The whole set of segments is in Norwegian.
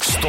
Stå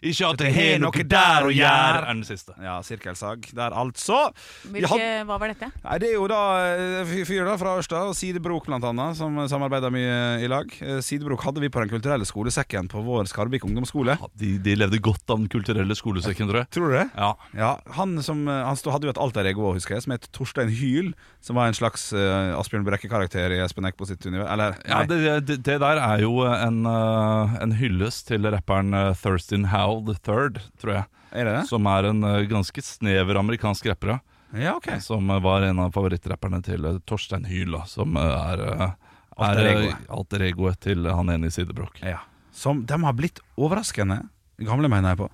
Ikke at det har noe der å gjøre enn det siste. Ja, sirkelsag der, altså. Vi Hvilke, had- Hva var dette? Nei, Det er jo da eh, fy- fyr da fra Ørsta og Side Brok blant annet, som samarbeider mye i lag. Eh, Side Brok hadde vi på Den kulturelle skolesekken på vår Skarbik ungdomsskole. De, de levde godt av den kulturelle skolesekken, tror jeg. Tror du det? Ja. Ja, Han, som, eh, han stod, hadde jo et alter ego, også, husker jeg, som het Torstein Hyl. Som var en slags eh, Asbjørn Brekke-karakter i Espen Eckbo sitt univers. Eller, Ja, nei. det, det, det der er jo en, eh, en hyllest til rapperen eh, Thurston Howell the Third, tror jeg. er det det? Som er en eh, ganske snever amerikansk rapper. ja. Ja, ok. Som eh, var en av favorittrapperne til eh, Torstein Hyl, da, som eh, er, eh, er Alter eh, egoet. alter egoet til eh, han ene i Sidebrokk. Ja. Som de har blitt overraskende gamle, mener jeg på.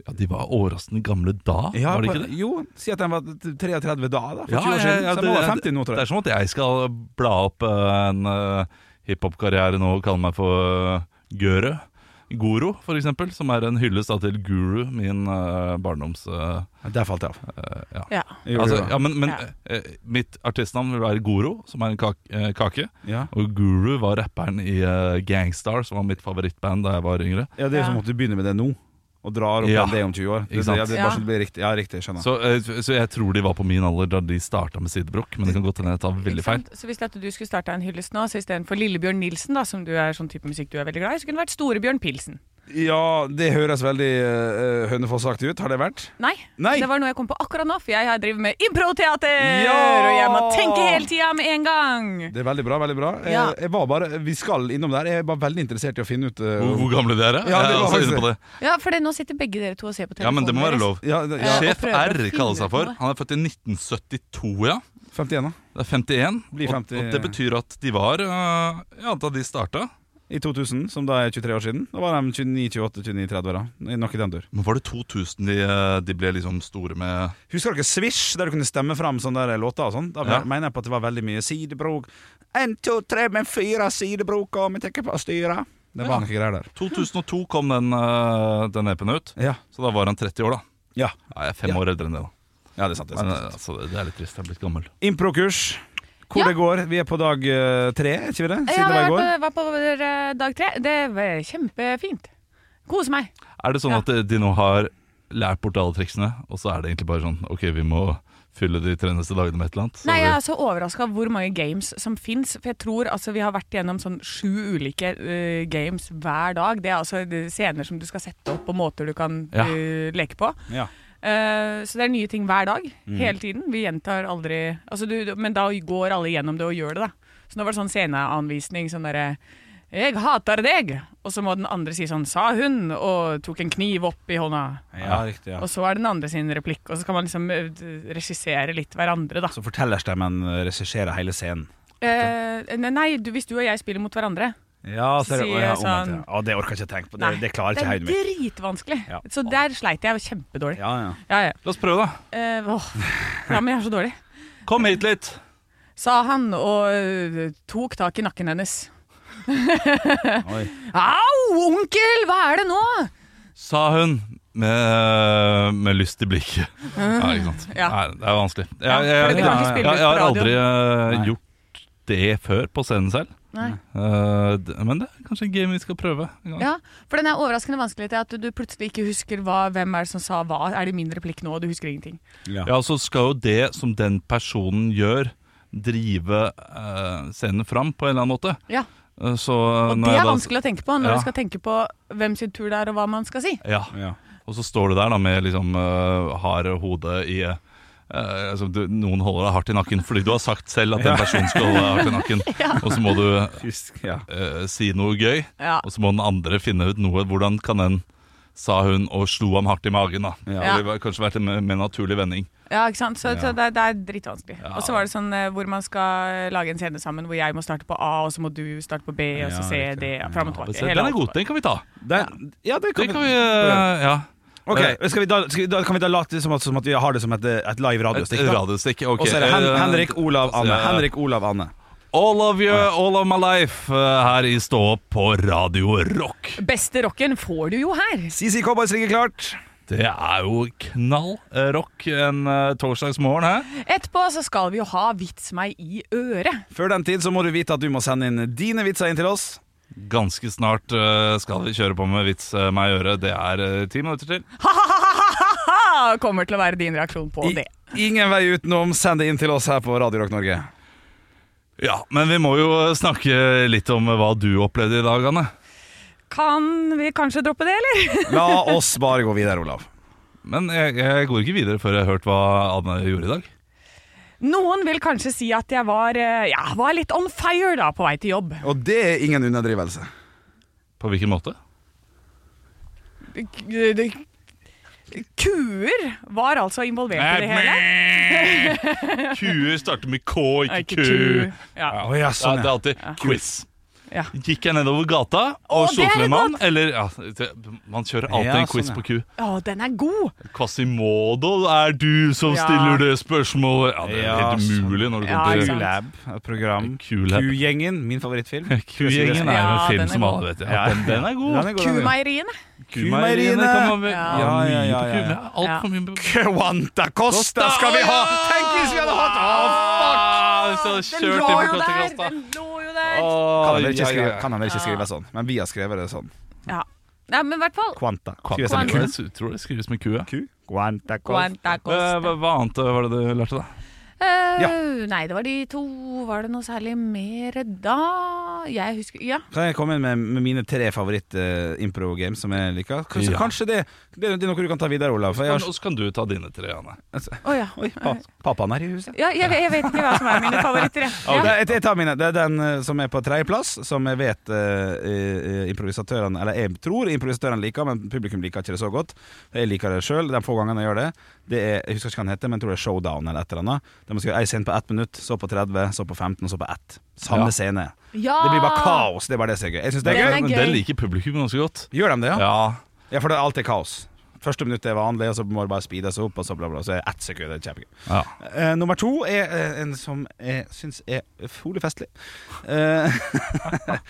Ja, de var overraskende gamle da, Ja, var de på- ikke det? Jo, si at de var 33 da, da for Ja, 20 år siden. ja, ja, så det- de var 50 nå, tror Det er jeg. som at jeg skal bla opp eh, en eh, hiphop-karriere nå og kalle meg for uh, Gørø. Goro, for eksempel, som er en hyllest da, til Guru, min eh, barndoms... eh, Der falt jeg av. eh, ja. Ja. Gjorde Altså, du det? ja, men, men Ja. eh, mitt artistnavn vil være Goro, som er en kak eh, kake. Ja. Og Guru var rapperen i eh, Gangstar, som var mitt favorittband da jeg var yngre. Ja, det er jo som Ja. at du begynner med det nå, og drar opp Ja. igjen det om 20 år. Det, Ikke sant? ja, det er bare Ja. så det blir riktig. Ja, riktig, skjønner. Så, eh, så jeg tror de var på min alder da de starta med sidebrokk, men det kan godt hende jeg tar veldig Ikke feil. sant? Så hvis at du skulle starta en hyllest nå, så istedenfor Lillebjørn Nilsen, da, som du er sånn type musikk du er veldig glad i, så kunne det vært Storebjørn Pilsen. Ja, det høres veldig uh, Hønefoss-aktig ut. Har det vært? Nei, Nei. det var noe jeg kom på akkurat nå, for jeg har drevet med improteater! Ja! Og jeg må tenke hele tida med en gang! Det er veldig bra. veldig bra Eh, Ja. jeg, var bare, Vi skal innom der. Jeg er bare veldig interessert i å finne ut eh, Hvor, hvor gamle de er? Ja, jeg det er var også faktisk inne på det. Ja, for det, nå sitter begge dere to og ser på Ja, telefonen. men det må være deres. lov. ja, det- ja, Ja. Sjef og prøve å R finne kaller seg ut for. noe. Han er født i 1972, ja. 51 da, Det er 51. Blir og- 50. Og det betyr at de var eh, Ja, da de starta. i 2000, som da er 23 år siden. Da var de 29, 28, 29, 30 år. da Nok i den tur. Men var det 2000 de, eh, de ble liksom store med Husker dere Swish, der du kunne stemme fram sånne der låter og sånn? Da Ja. mener jeg på at det var veldig mye sidebrok. En, to, tre, men fire sidebrok, og vi tenker på å styre. Det Ja. var noen greier der. 2002 kom den, eh, den apen ut, Ja. så da var han 30 år, da. Ja. Nei, jeg er fem Ja. år eldre enn det, da. ja, det er sant. Det er Men, sant. eh, altså, det er litt trist. Jeg er blitt gammel. eh, Improkurs. Hvor Ja. det går. Vi er på dag eh, tre, er ikke vi det? Siden det Ja, var jeg i går. var på, var på eh, dag tre. Det var kjempefint. Kose meg. Er det sånn Ja. at de nå har lært bort alle triksene, og så er det egentlig bare sånn Ok, vi må fylle de tre neste dagene med et eller annet. Så Nei, vi- jeg er så overraska hvor mange games som fins. For jeg tror altså, vi har vært gjennom sånn sju ulike eh, games hver dag. Det er altså eh, scener som du skal sette opp, og måter du kan Ja. eh, leke på. Ja. Mm. Eh, så det er nye ting hver dag. Hele tiden. Vi gjentar aldri altså, du, du- Men da går alle gjennom det og gjør det, da. Så nå var det sånn sceneanvisning. Sånn derre Jeg hater deg! Og så må den andre si sånn Sa hun! Og tok en kniv opp i hånda. Ja, riktig. Ja. Og så er den andre sin replikk. Og så kan man liksom eh, regissere litt hverandre, da. Så fortellerstemmen eh, regisserer hele scenen. Eh, ne- nei, du, hvis du og jeg spiller mot hverandre. Ja, så er det- Sier ja, omvendt, ja. sånn- Å, det orker jeg ikke tenke på. Nei, det er dritvanskelig. Ja. Så der sleit jeg kjempedårlig. Ja, ja. Ja, ja. La oss prøve, da. Eh, åh. ja, men jeg er så dårlig. Kom hit litt. Sa han og eh, tok tak i nakken hennes. Oi. Au, onkel, hva er det nå? Sa hun med, med lyst i blikket. Ja, ikke sant. Ja. Nei, det er vanskelig. Jeg, Ja, for du kan ikke spille jeg, ut jeg har på aldri eh, Nei. gjort det før på scenen selv. Nei. Eh, d- men det er kanskje en game vi skal prøve. en gang. Ja, For den er overraskende vanskelig til at du plutselig ikke husker hva, hvem er det som sa hva. Er det min replikk nå, og du husker ingenting? Ja. Ja, så skal jo det som den personen gjør, drive eh, scenen fram på en eller annen måte. Ja, Eh, så Og når det jeg er da- vanskelig å tenke på når Ja. du skal tenke på hvem sin tur det er, og hva man skal si. Ja. Ja. Og så står du der da med liksom uh, hard hode i eh, altså, du, Noen holder deg hardt i nakken fordi du har sagt selv at en person skal holde deg hardt i nakken. Og så må du Husk, ja. eh, si noe gøy, Ja. og så må den andre finne ut noe. Hvordan kan den sa hun og slo ham hardt i magen, da. Ja. Det ville kanskje vært en mer mer naturlig vending. Ja, ikke sant? Så, så det, er- det er drittvanskelig. Ja. Og så var det sånn eh, hvor man skal lage en scene sammen hvor jeg må starte på A, og så må du starte på B, og Ja, så C, riktig. D, fram og tilbake. Den Hele er alt. god, den kan vi ta. Den, ja, det Den kan, kan vi vi eh, Ja. Ok, skal vi da, skal vi da, Kan vi da late som at, som at vi har det som et, et live Et radiostikk? da? radiostikk. ok. Og så er det Hen Eh, Henrik Olav Anne. Ja. Henrik Olav Anne All of you, all of my life, eh, her i Stå opp på Radio Rock. Beste rocken får du jo her. CC Cowboys ringer klart. Det er jo knall eh, rock en eh, torsdagsmorgen, hæ? Etterpå så skal vi jo ha Vits meg i øret. Før den tid så må du vite at du må sende inn dine vitser inn til oss. Ganske snart eh, skal vi kjøre på med vits eh, meg i øret. Det er eh, ti minutter til. Ha-ha-ha! Kommer til å være din reaksjon på I- det. Ingen vei utenom. Send det inn til oss her på Radio Rock Norge. Ja, men vi må jo eh, snakke litt om eh, hva du opplevde i dag, Anne. Kan vi kanskje droppe det, eller? La oss bare gå videre, Olav. Men jeg, jeg går ikke videre før jeg har hørt hva Anne gjorde i dag. Noen vil kanskje si at jeg var, eh, ja, var litt on fire da på vei til jobb. Og det er ingen underdrivelse. På hvilken måte? K- det- Kuer var altså involvert i det hele. Kuer starter med K, Nei, ikke ku. Ja. Å ja, Ja, det sånn er ja. alltid quiz. Ja. Gikk jeg nedover gata og Å, det slo er til en mann? godt. Eller ja, det, Man kjører alltid Ja, en quiz sånn, ja. på ku. Å, den er god! Quasimodo, er du som Ja. stiller det spørsmålet? Ja, det er Ja, helt sånn. umulig når det sånn. Ja, kommer ikke til sant. Q-lab, et program. Q-lab. Q-gjengen, min favorittfilm. Q-gjengen er jo Ja, en den film er som god. alle vet. Ja, den, den er god. Den er god, den er god. Kumeieriene. Q-meieriene Q-meieriene. kan man vel- Ja. Ja, mye Ja, ja, på Q, ja, ja. men det er alt for mye på Quanta Costa skal vi ha! Tenk hvis vi hadde hatt Ah, hvis jeg hadde Den kjørt lå inn på jo der! Katakasta. Den lå jo der. Kan Åh, han vel ja, ikke ja, skrive, ja. kan han vel ikke skrive sånn, men vi har skrevet det sånn. Ja. Nei, men i hvert fall Quanta. Kvanta. Skrives det med Q? Jeg tror det skrives med Q, ja. Q? Quanta Costa. Quanta Eh, Costa. Hva, hva annet eh, var det du lærte, da? Eh, Ja. Nei, det var de to. Var det noe særlig mer da? Jeg husker Ja. Kan jeg komme inn med, med mine tre favoritt-impro-games som jeg liker? Kanskje, Ja. kanskje det, det, det er noe du kan ta videre, Olav. For jeg Og har, så kan du ta dine tre, Anne. Å ja. oi, pa, pappaen er i huset. ja jeg, jeg vet ikke hva som er mine favoritter. jeg. Ja, Ja. Jeg, jeg tar mine. Det er den eh, som er på tredjeplass, som jeg vet eh, eh, improvisatørene Eller jeg tror improvisatørene liker, men publikum liker ikke det så godt. Jeg liker det sjøl, de få gangene jeg gjør det. Det er, Jeg husker ikke hva den heter, men jeg tror det er Showdown eller et eller annet. De må skrive én scene på ett minutt, så på 30, så på 15, og så på ett. Samme Ja. scene. Ja. Det blir bare kaos. Det er bare det som er gøy. Jeg synes det Den er er gøy. Men gøy. den liker publikum ganske godt. Gjør de det, ja? Ja, Ja, for det er alltid kaos. Første minutt er vanlig, og så må det bare speedes opp, og så bla, bla. Så er det ett sekund. Det er kjempegøy. ja. Eh, nummer to er eh, en som jeg syns er utrolig festlig. Eh,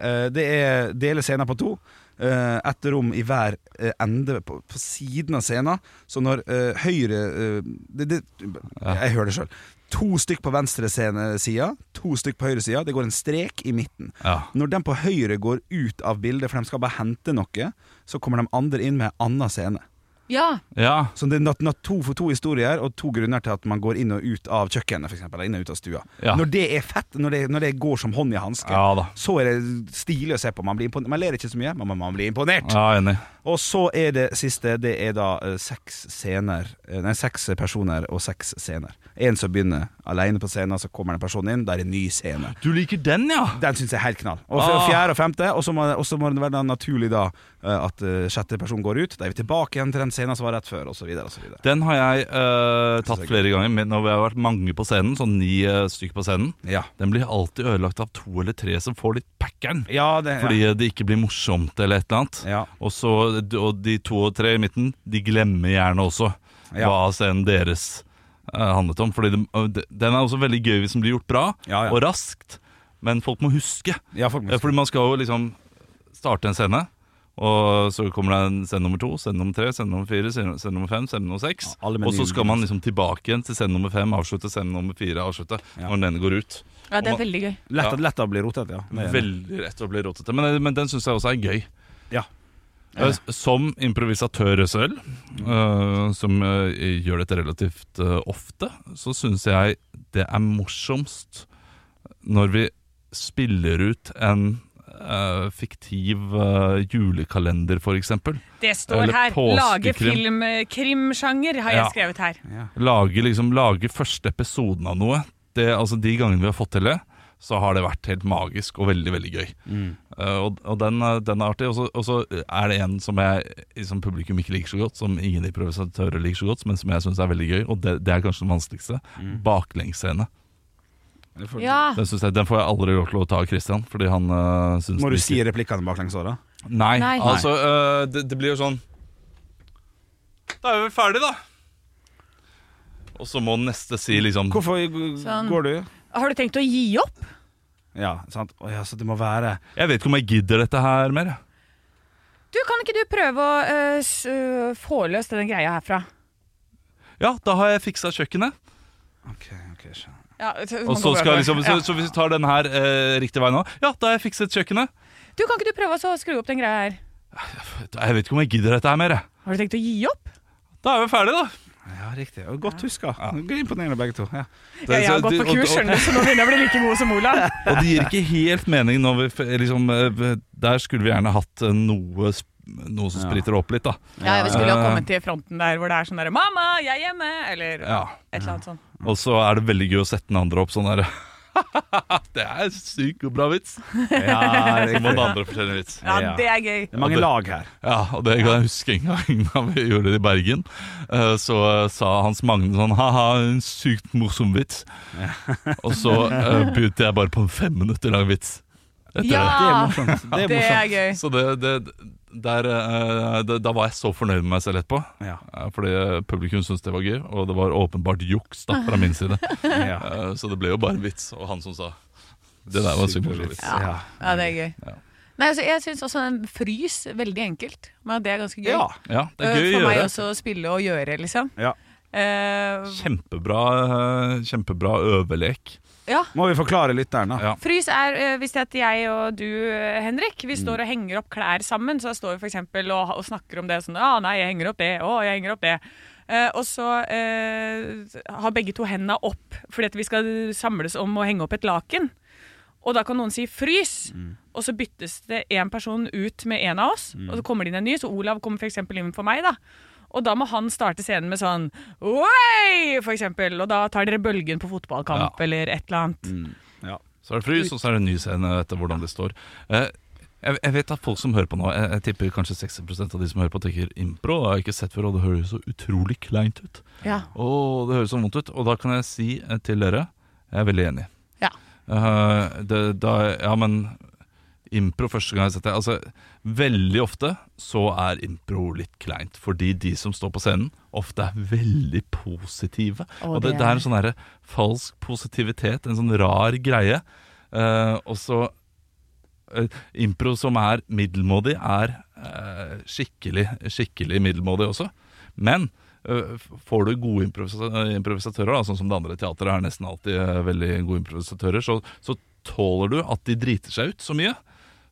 eh, det er dele scenen på to. Eh, ett rom i hver eh, ende på, på siden av scenen. Så når eh, høyre eh, det, det, Jeg hører det sjøl. To stykk på venstre scene- sida, to stykk på høyre sida. Det går en strek i midten. ja. Når den på høyre går ut av bildet, for de skal bare hente noe, så kommer de andre inn med en annen scene. Ja. ja. Så det er natt- natt to for to historier og to grunner til at man går inn og ut av kjøkkenet, for eksempel, eller inn og ut av stua. Ja. Når det er fett, når det, når det går som hånd i hanske, Ja da. så er det stilig å se på. Man, blir imponert. man ler ikke så mye, men man- man blir imponert. Ja, enig. Og så er det siste, det er da eh, seks scener eh, Nei, seks personer og seks scener. En som begynner alene på scenen, så kommer den personen inn, der er en ny scene. Du liker den, ja? Den syns jeg er helt knall. Og f- Ah. fjerde og femte, og så må, og så må det være da naturlig da eh, at eh, sjette person går ut. Da er vi tilbake igjen til den scenen som var rett før, og så videre, og så videre. Den har jeg eh, tatt flere ganger, men når vi har vært mange på scenen, sånn ni eh, stykker på scenen. Ja. Den blir alltid ødelagt av to eller tre som får litt packeren. Ja, det, Fordi eh, det ikke blir morsomt eller et eller annet. ja. Og, så, og de to og tre i midten, de glemmer gjerne også Ja. hva scenen deres eh, handlet om. Fordi det, den er også veldig gøy hvis den blir gjort bra Ja, ja. og raskt, men folk må huske. ja, folk må Eh, Fordi man skal jo liksom starte en scene, og så kommer det en scene nummer to, scene nummer tre, scene nummer fire, scene scene nummer fem, scene nummer seks. Ja, alle med og så nye skal man liksom tilbake igjen til scene nummer fem, avslutte scene nummer fire, avslutte Ja. når den går ut. ja, det er veldig gøy. lett, lett å bli rotet, ja. Det er- Veldig rett å bli rotete. Men, eh, men den syns jeg også er gøy. Ja. Eh, Som improvisatør selv, eh, som eh, gjør dette relativt eh, ofte, så syns jeg det er morsomst når vi spiller ut en eh, fiktiv eh, julekalender, for eksempel. Det står Eller her. Lage påskekrim. film eh, krimsjanger Ja. har jeg skrevet her. Lage, liksom, lage første episoden av noe. Det, altså, de gangene vi har fått til det, så har det vært helt magisk og veldig, veldig gøy. Eh, og, og den, er- den er artig. Og så- og så er det en som, jeg, som publikum ikke liker så godt, som ingen improvisatører liker så godt, men som jeg syns er veldig gøy, og det, det er kanskje den vanskeligste. Baklengscene. Ja. Den, synes jeg, den får jeg aldri lov til å ta av Christian, fordi han uh, syns Må den du ikke- si replikkene baklengs òg, da? Nei, Nei. altså øh, det, det blir jo sånn Da er vi vel ferdig da Og så må neste si liksom Hvorfor Sånn. går du? Å, Har du tenkt å gi opp? Ja, sant? Å ja, så det må være Jeg vet ikke om jeg gidder dette her mer. jeg. Du, Kan ikke du prøve å eh, s- øh, få løst den greia herfra? Ja, da har jeg fiksa kjøkkenet. Ok, ok, skjønner. Ja, så- Og man så går skal over. jeg liksom Så, Ja. så hvis vi tar den her eh, riktig vei nå Ja, da har jeg fikset kjøkkenet. Du, Kan ikke du prøve å skru opp den greia her? Jeg vet ikke om jeg gidder dette her mer. jeg. Har du tenkt å gi opp? Da er vi ferdige, da. Ja, riktig. Og Godt huska. Imponerende begge to. Ja. Det- Ja, jeg har så- gått det- på og- kurs, og- skjønner du, så nå begynner jeg å bli like god som Olav. Og det gir ikke helt mening når vi f- liksom eh, Der skulle vi gjerne hatt eh, noe sp- noe som Ja. spriter opp litt, da. Ja, vi skulle jo ja. kommet til fronten der hvor det er sånn derre 'Mamma, jeg er hjemme!' eller Ja. et eller annet sånt. Og så er det veldig gøy å sette den andre opp sånn der. det er sykt og bra vits. Ja, Så må riktig. den andre fortelle en vits. Ja, Ja. det er gøy. Det er mange lag her. Ja, og det kan jeg huske en gang da vi gjorde det i Bergen. Eh, Så eh, sa Hans Magne sånn ha-ha, en sykt morsom vits. Og så eh, begynte jeg bare på en fem minutter lang vits. Etter Ja, Det er morsomt. Det er Det er morsomt. gøy. det. Så det, det, der, eh, det, da var jeg så fornøyd med meg selv etterpå. Ja, Eh, Fordi eh, publikum syntes det var gøy, og det var åpenbart juks da, fra min side. ja. Eh, Så det ble jo bare en vits, og han som sa Det der var en sykt morsom vits. Ja. Ja, det er gøy. Ja. Nei, altså, jeg syns også den frys veldig enkelt. Men det er ganske gøy. ja. Ja, det er Eh, gøy å For meg gjøre. også å spille og gjøre, liksom. Ja. Eh, Kjempebra, eh, kjempebra øvelek. ja. Må vi forklare lytteren, da? Ja. Frys er eh, hvis det er at jeg og du, eh, Henrik, vi står og henger opp klær sammen. Så står vi for eksempel og, og snakker om det sånn Ja, nei, jeg henger opp det. Å, jeg henger opp det. Eh, og så eh, har begge to henda opp fordi at vi skal samles om å henge opp et laken. Og da kan noen si 'frys', og så byttes det én person ut med en av oss. Og så kommer det inn en ny, så Olav kommer f.eks. inn for meg, da. Og da må han starte scenen med sånn 'oi', for eksempel. Og da tar dere bølgen på fotballkamp Ja. eller et eller annet. Mm. Ja. Så er det frys, og så er det en ny scene etter hvordan det står. Eh, Jeg, jeg vet at folk som hører på nå, jeg, jeg tipper kanskje 60 av de som hører på, tenker impro. Det har jeg ikke sett før, og det høres så utrolig kleint ut. Ja. Åh, det høres så vondt ut. Og da kan jeg si eh, til dere Jeg er veldig enig. Ja. Eh, det, da, ja, men impro første gang jeg har sett det altså, Veldig ofte så er impro litt kleint, fordi de som står på scenen, ofte er veldig positive. Å, og det, det det er- er en sånn derre falsk positivitet, en sånn rar greie. Eh, og så eh, Impro som er middelmådig, er eh, skikkelig, skikkelig middelmådig også. Men eh, f- får du gode improvisa- improvisatører, da, sånn som det andre teatret er nesten alltid eh, veldig gode improvisatører, så, så tåler du at de driter seg ut så mye.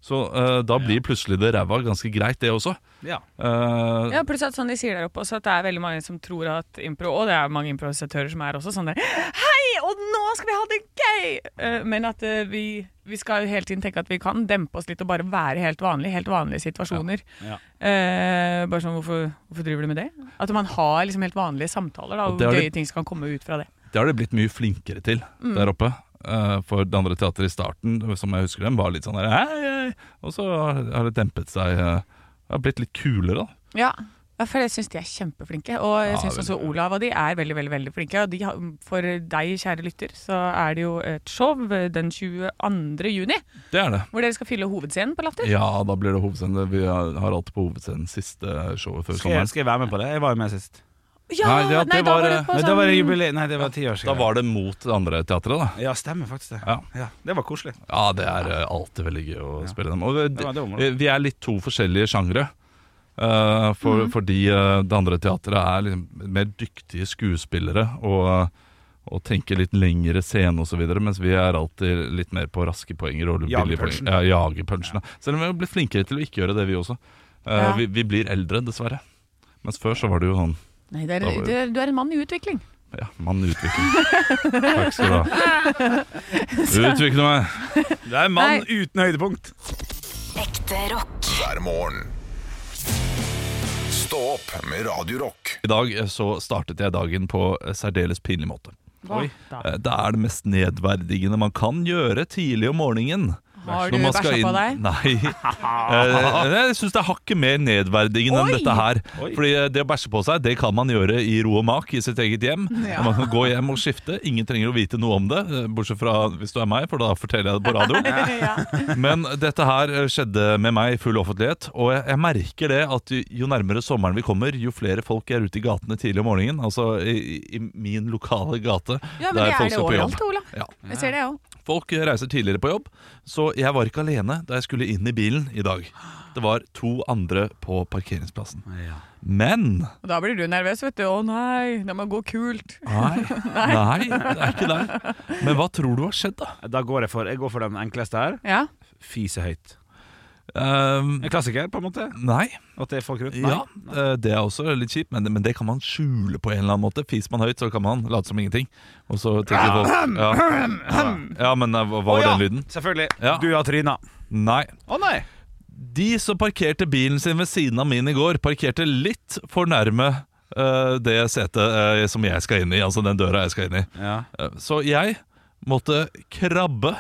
Så eh, da blir plutselig det ræva ganske greit, det også. ja. Eh, Ja, pluss at sånn de sier der oppe også, at det er veldig mange som tror at impro, og det er mange improvisatører som er også sånn der Hei, og nå skal vi ha det gøy! Eh, Men at eh, vi, vi skal jo hele tiden tenke at vi kan dempe oss litt og bare være helt vanlige, helt vanlige situasjoner. Ja. Eh, bare sånn, hvorfor, hvorfor driver du med det? At man har liksom helt vanlige samtaler, da, Og og det har gøye de- ting som kan komme ut fra det. Det har de blitt mye flinkere til der oppe. Eh, For det andre teatret i starten, som jeg husker dem, var litt sånn der hei, hei. Og så har har det dempet seg. eh, Det har blitt litt kulere, da. Ja, ja, for jeg syns de er kjempeflinke. Og jeg Ja, syns også veldig bra. Olav og de er veldig veldig, veldig flinke. Og de har, for deg, kjære lytter, så er det jo et show den 22. juni. Det er det. Hvor dere skal fylle hovedscenen på Latter. Ja, da blir det hovedscene. Vi har har alltid på hovedscenen siste showet før Skal, jeg, sommeren. skal jeg være med på det? Jeg var jo med sist. Ja, Nei, det- det var- det sånn- Nei, da var det jubileet. Nei, det var ti år Da siden. var det mot det andre teatret, da. Ja, stemmer faktisk det. Ja. Ja, det var koselig. Ja, det er eh, alltid veldig gøy å spille dem. Og Det var det området. vi, vi er litt to forskjellige sjangre. eh, for, Mhm. Fordi eh, det andre teatret er liksom mer dyktige skuespillere og, og tenker litt lengre scene osv., mens vi er alltid litt mer på raske poenger og Jage billige punchen. poenger. Ja, jage punchene. Selv om vi har blitt flinkere til å ikke gjøre det, vi også. Eh, Ja. vi, vi blir eldre, dessverre. Mens før så var det jo sånn Nei, det er, Da var det- det er, du er en mann i utvikling. ja, mann utvikler. Takk skal du ha. Utvikle meg. Det er en mann Nei. uten høydepunkt. Ekte rock. hver morgen. Stå opp med Radio Rock. I dag eh, så startet jeg dagen på eh, særdeles pinlig måte. Hva da? Eh, Det er det mest nedverdigende man kan gjøre tidlig om morgenen. Har du Når man skal bæsja på deg? inn- Nei. Eh, Jeg syns det er hakket mer nedverdigende enn Oi! dette her. Oi. Fordi eh, det å bæsje på seg, det kan man gjøre i ro og mak i sitt eget hjem. Ja. Og Man kan gå hjem og skifte. Ingen trenger å vite noe om det, eh, bortsett fra hvis du er meg, for da forteller jeg det på radioen. ja. Men dette her eh, skjedde med meg i full offentlighet, og jeg, jeg merker det at jo, jo nærmere sommeren vi kommer, jo flere folk er ute i gatene tidlig om morgenen. Altså i, i- i min lokale gate. ja, men der det folk er det skal på jobb. overalt, Ola. Ja. Jeg ser det òg. Folk eh, reiser tidligere på jobb, så jeg var ikke alene da jeg skulle inn i bilen i dag. Det var to andre på parkeringsplassen. Ja. Men Og da blir du nervøs, vet du. Å nei, det må gå kult. Nei, nei det er ikke der. Men hva tror du har skjedd, da? Da går jeg for, jeg går for den enkleste her. Ja. Fise høyt. Ehm, En klassiker, på en måte. nei. At det er folk rundt. Ja, eh, det er også litt kjipt, men, men det kan man skjule på en eller annen måte. Fiser man høyt, så kan man late som ingenting. Og så tenker folk Ja, ja men eh, hva Å var ja, den lyden? Selvfølgelig. Ja. Du har tryna. Nei. Å nei! De som parkerte bilen sin ved siden av min i går, parkerte litt for nærme eh, det setet eh, som jeg skal inn i, altså den døra jeg skal inn i. Ja. Eh, Så jeg måtte krabbe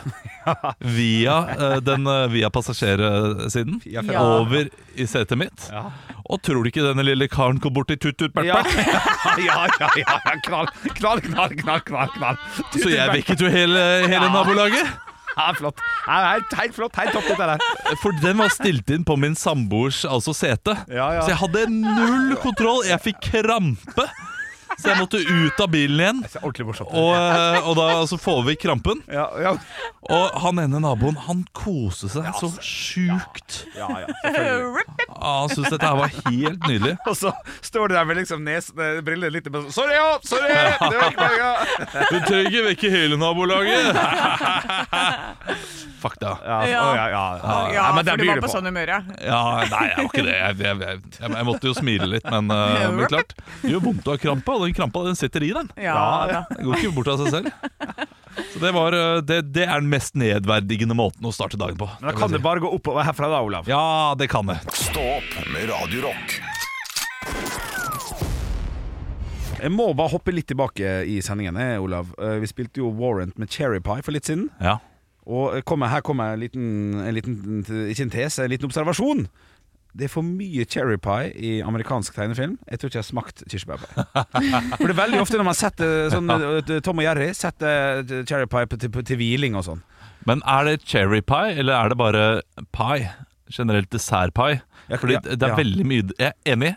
via, eh, den, eh, via passasjersiden Ja. over i setet mitt. Ja. Og tror du ikke denne lille karen kom bort til tut-tut-bert-bert? Ja, ja, ja, ja, ja. Knall, knall, knall, knall, knall, knall. Så jeg vekket jo hele, hele nabolaget. Ja, flott. Ja, helt, helt flott. Helt topp, dette der. For den var stilt inn på min samboers altså sete. Ja, ja. Så jeg hadde null kontroll. Jeg fikk krampe. Så jeg måtte ut av bilen igjen. Det er ordentlig morsomt. Og, eh, og da altså, får vi krampen. Ja, ja, Og han ene naboen han koste seg så sjukt. ja, altså. ja selvfølgelig. Ah, Han syntes dette her var helt nydelig. Og så står du der med liksom nes, eh, brillene litt bare sånn, Sorry, ja! Sorry! Det var ikke meninga! Du trenger ikke vekke hele nabolaget. Fuck da. Ja, Ja. å, ja, ja. Ja, Nei, men for den byr du var du på på. sånn humør, ja. Ja, nei, jeg var ikke det. Jeg, jeg, jeg, jeg, jeg måtte jo smile litt, men, eh, men klart. Det gjør vondt å ha krampe, og den krampa den sitter i den. Ja, da. Den går ikke bort av seg selv. Så det, var, eh, det, det er den mest nedverdigende måten å starte dagen på. Men da kan det bare gå oppover herfra da, Olav. Ja, det kan det. Stå opp med Radio Rock. Jeg må bare hoppe litt tilbake i sendingen, eh, Olav. Eh, Vi spilte jo Warrant med Cherry Pie for litt siden. Ja. Og kommer, her kommer en liten, en liten Ikke en tese, en liten observasjon. Det er for mye cherry pie i amerikansk tegnefilm. Jeg tror ikke jeg har smakt kirsebærpie. For det er veldig ofte når man setter sånn, eh, Tom og Jerry setter cherry pie på- til, på- til hviling og sånn. Men er det cherry pie, eller er det bare pie? Generelt dessertpie? Ja, Fordi ja, det er ja. veldig mye Jeg er enig.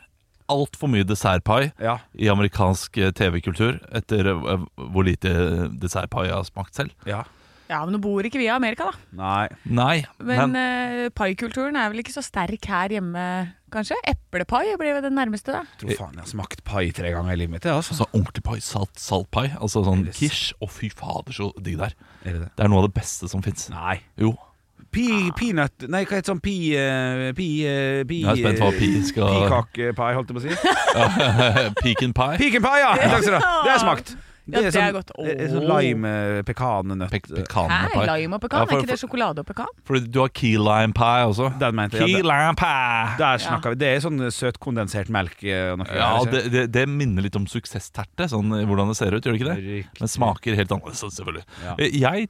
Altfor mye dessertpie Ja. i amerikansk eh, TV-kultur etter eh, hvor lite dessertpie jeg har smakt selv. ja. ja, men nå bor ikke vi i Amerika, da. Nei. Nei, Men eh, paikulturen er vel ikke så sterk her hjemme, kanskje? Eplepai blir vel det nærmeste, da. Jeg tror faen jeg har smakt pai tre ganger i livet mitt. jeg, Altså. Sånn ordentlig pai, salt, saltpai, altså sånn Yes. kish. Å, fy fader, så digg det er. Er det det? Det er noe av det beste som fins. Nei. Jo. Pi, peanut Nei, hva heter sånn pi... eh, pi, eh, pi Jeg er spent på hva pi skal Pikakepie, holdt jeg på å si. Pecan pie. Pecan pie, ja! Takk skal du ha. Det har jeg smakt. Ja, det er godt. det er sånn lime, eh, pekannøtt Pe Hæ, Pecan pie. lime og Ja, pekan? for- er ikke det sjokolade og pekan? Fordi du har key lime pie også. Den mente jeg, ja, Key den- lime pie! Der snakker vi. Det er sånn søt kondensert melk. eh, og Noe Ja, greier, det, det, det minner litt om suksessterte, sånn eh, hvordan det ser ut, gjør det ikke det? ikke? Men smaker helt annerledes, sånn, selvfølgelig. Ja. Eh, Jeg,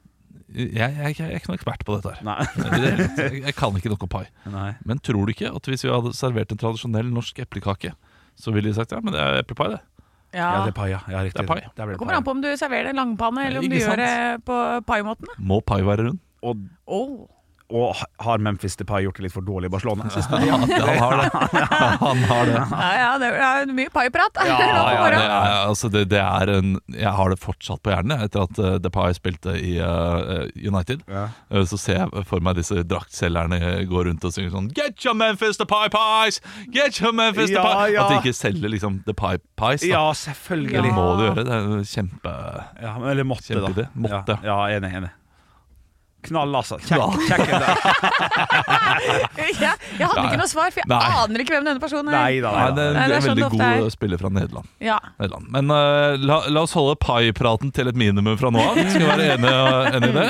jeg, jeg, jeg er ikke noen ekspert på dette her. Nei. I det hele tatt. Jeg- Jeg kan ikke noe om pai. Nei. Men tror du ikke at hvis vi hadde servert en tradisjonell norsk eplekake, så ville de sagt ja, men det er eplepai, det. Ja, det Ja. er pai, ja. ja riktig. Det er pai. Der ble Det det kommer an på om du serverer det i langpanne, eller om Ikke du sant? gjør det på paimåten. da. Må pai være rund? Og, Åh. og har Memphis de Pai gjort det litt for dårlig i Barcelona? Ja, han har det. Han har det. Ja, ja, det er mye paiprat. Ja, Ja, det, er, altså det, det er en, jeg har det fortsatt på hjernen jeg, etter at uh, Depay spilte i eh, United. Ja. Eh, så ser jeg for meg disse draktselgerne gå rundt og synge sånn Get your Memphis Depay Pies! Get your Memphis Ja, Depay! ja. At de ikke selger liksom Depay Pies. Da. Ja, Det selvfølgelig. Ja. må de gjøre. Det er jo kjempe... Ja, men- eller måtte, da. Kjempeidé. Måtte. Ja, ja enig. enig. Knall, altså. Kjekk, Knall. kjekk en dag. Ja, jeg hadde ikke noe svar, for jeg Nei. aner ikke hvem denne personen Nei er. da. Nei, det er Nei, Nei, en det er sånn veldig det ofte god er. spiller fra Nederland. Ja. Nederland. Men eh, la, la oss holde pai-praten til et minimum fra nå av. Skal vi være enige enige i det?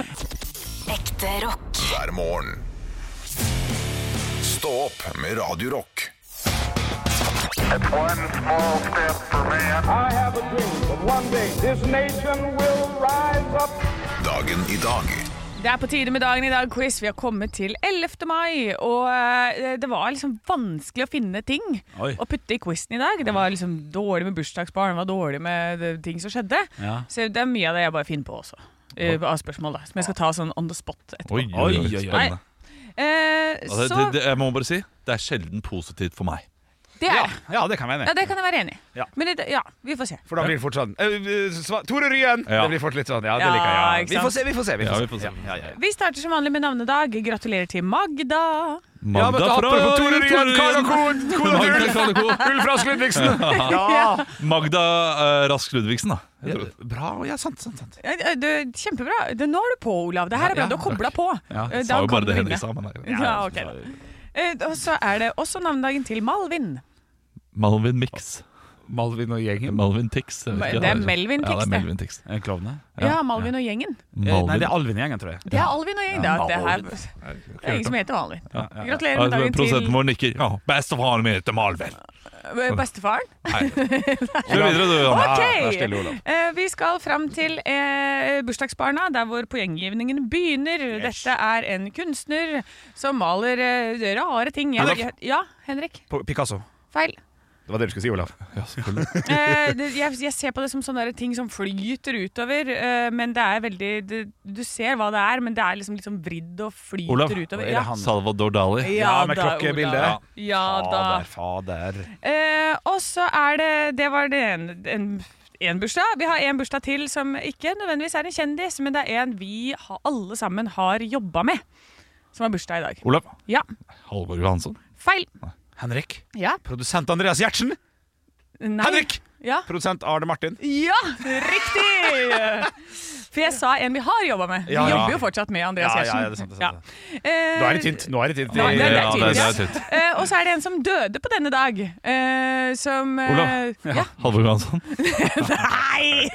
Ekte rock. Hver morgen. Stå opp med Radio Rock. One small step for man. I have a dream that one day this nation will rise up. Dagen i dag Det er på tide med dagen i dag, quiz. Vi har kommet til 11. mai, og eh, det var liksom vanskelig å finne ting Oi. å putte i quizen i dag. Det var liksom dårlig med bursdagsbarn, det var dårlig med eh, ting som skjedde. Ja. Så det er mye av det jeg bare finner på også. eh, Av spørsmål, da. Som jeg skal ta sånn on the spot etterpå. Oi, Oi, oi, oi. Nei. Eh, Ja, det, så Altså, det, det, jeg må bare si det er sjelden positivt for meg. det er Ja, det. ja, det kan jeg Ja, mene. det kan jeg være enig i. Ja. Men det, ja, vi får se. For da blir det fort sånn «Eh, eh, sva- Tore Ryen! Ja. Det blir fort litt sånn. Ja, det Ja, liker jeg. ikke Ja. Vi sant? får se, vi får se. Vi Ja, får se. vi får se. Ja, ja, ja. Vi starter som vanlig med navnedag. Gratulerer til Magda. Ja, men Magda da hopper vi på Tore Ryen, Karl og Korn, Kola Magda Ulf, Karl og Ko. Ulf Rask Ludvigsen! Ja. Magda eh, Rask Ludvigsen, da. Jeg tror- Bra. Ja, sant, sant. sant. Ja, ja, det- Kjempebra. Det, nå er du på, Olav. Det her er bra. Ja, Du har kobla på. Ja, Eh, da Sa jo bare kan du det Henrik vinne. sa. Men det er greit. Ja, ok da. Eh, Og så er det også navnedagen til Malvin. Malvin Mix. Malvin og gjengen. Malvin Tix. jeg vet ikke. Det er Melvin Ja, det Tix, er det. Melvin Tix. Eh, Klovne? Ja, Malvin og gjengen. Eh, Nei, Malvin. det er Alvin-gjengen, tror jeg. Det er Alvin og gjengen. Det er, det her, det er ingen som heter Malvin. Gratulerer med dagen Prosenten til vår nikker. Ja, bestefaren min heter Malvin. eh, bestefaren. Nei. Kjør videre, du, Anna. Ok! vær stille, Olav. Eh, Vi skal fram til eh, bursdagsbarna, der hvor poenggivningen begynner. Dette er en kunstner som maler eh, rare ting. Jeg, Olav. jeg, ja, Henrik? På Picasso. Feil. Det var det du skulle si, Olav. Ja, selvfølgelig. Eh, det, jeg, jeg ser på det som sånne der ting som flyter utover, eh, men det er veldig det, Du ser hva det er, men det er liksom litt sånn vridd og flyter Olav, utover. er det han? Salvador Dali. Ja, med da, klokkebildet. Olav. Ja da. Fader, fader. Eh, og så er det Det var det en, en, en bursdag. Vi har en bursdag til som ikke nødvendigvis er en kjendis, men det er en vi ha, alle sammen har jobba med, som har bursdag i dag. Olav. Ja. Halvor Johansson. Feil. Henrik. Ja. Produsent Andreas Gjertsen. Nei. Henrik! Ja. Produsent Arne Martin. Ja, riktig! For jeg sa en vi har jobba med. Vi Ja, ja. jobber jo fortsatt med Ja, Andreas ja, Gjertsen. ja, det er sant, det er sant. Ja. Eh, Nå er det tynt. Nå er det tynt. Nå er det- Ja, tynt, det ja. er tynt. eh, og så er det en som døde på denne dag, eh, som eh, Olav. Ja. Halvor Johansson. Nei!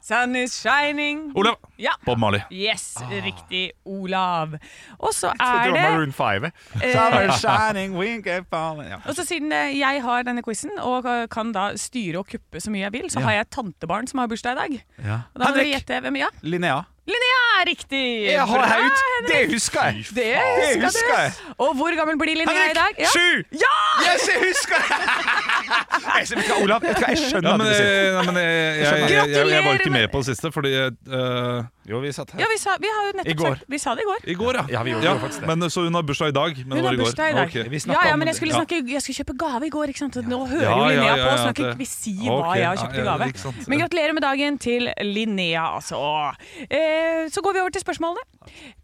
Sun is shining. Olav. Ja. Bob Marley. Yes, riktig, Olav. Og så Ah. Jeg trodde det er var Maroon det 5. Eh. Summer shining, wink and falling. Ja. og så Siden eh, jeg har denne quizen og eh, kan da styre og kuppe så mye jeg vil, så Ja. har jeg et tantebarn som har bursdag i dag. Ja. Og da må dere Henrik. gjette hvem ja. Linnea. Linnea er riktig! Jeg har Bra, haut. Henrik. Det husker jeg. Det Det husker, husker jeg. du. Og hvor gammel blir Linnea i dag? Henrik, sju! ja! Yes, jeg husker det! Jeg vet du hva, Olav, vet du hva, jeg skjønner Ja, at men, eh, det jeg, blir sint. nei, men jeg, jeg, jeg, jeg, jeg, var ikke Gratulerer med på det siste, fordi eh, Jo, vi satt her. ja vi, sa, vi har jo I nettopp går. sagt Vi sa det i går. I går, ja. Ja, vi gjorde jo faktisk det. Men, så hun har bursdag i dag, men det Hun var har i går. Ah, bursdag i dag. Ok. Vi snakket Ja, ja, om men jeg det. skulle, Ja. snakke, jeg skulle kjøpe gave i går, ikke sant? Nå hører Ja, jo ja, Linnea ja, på, ja, så nå kan det- ikke vi si Ok, hva jeg har ja, kjøpt i ja, gave. ikke sant. Men gratulerer med dagen til Linnea, altså. Eh, så går vi over til spørsmålene.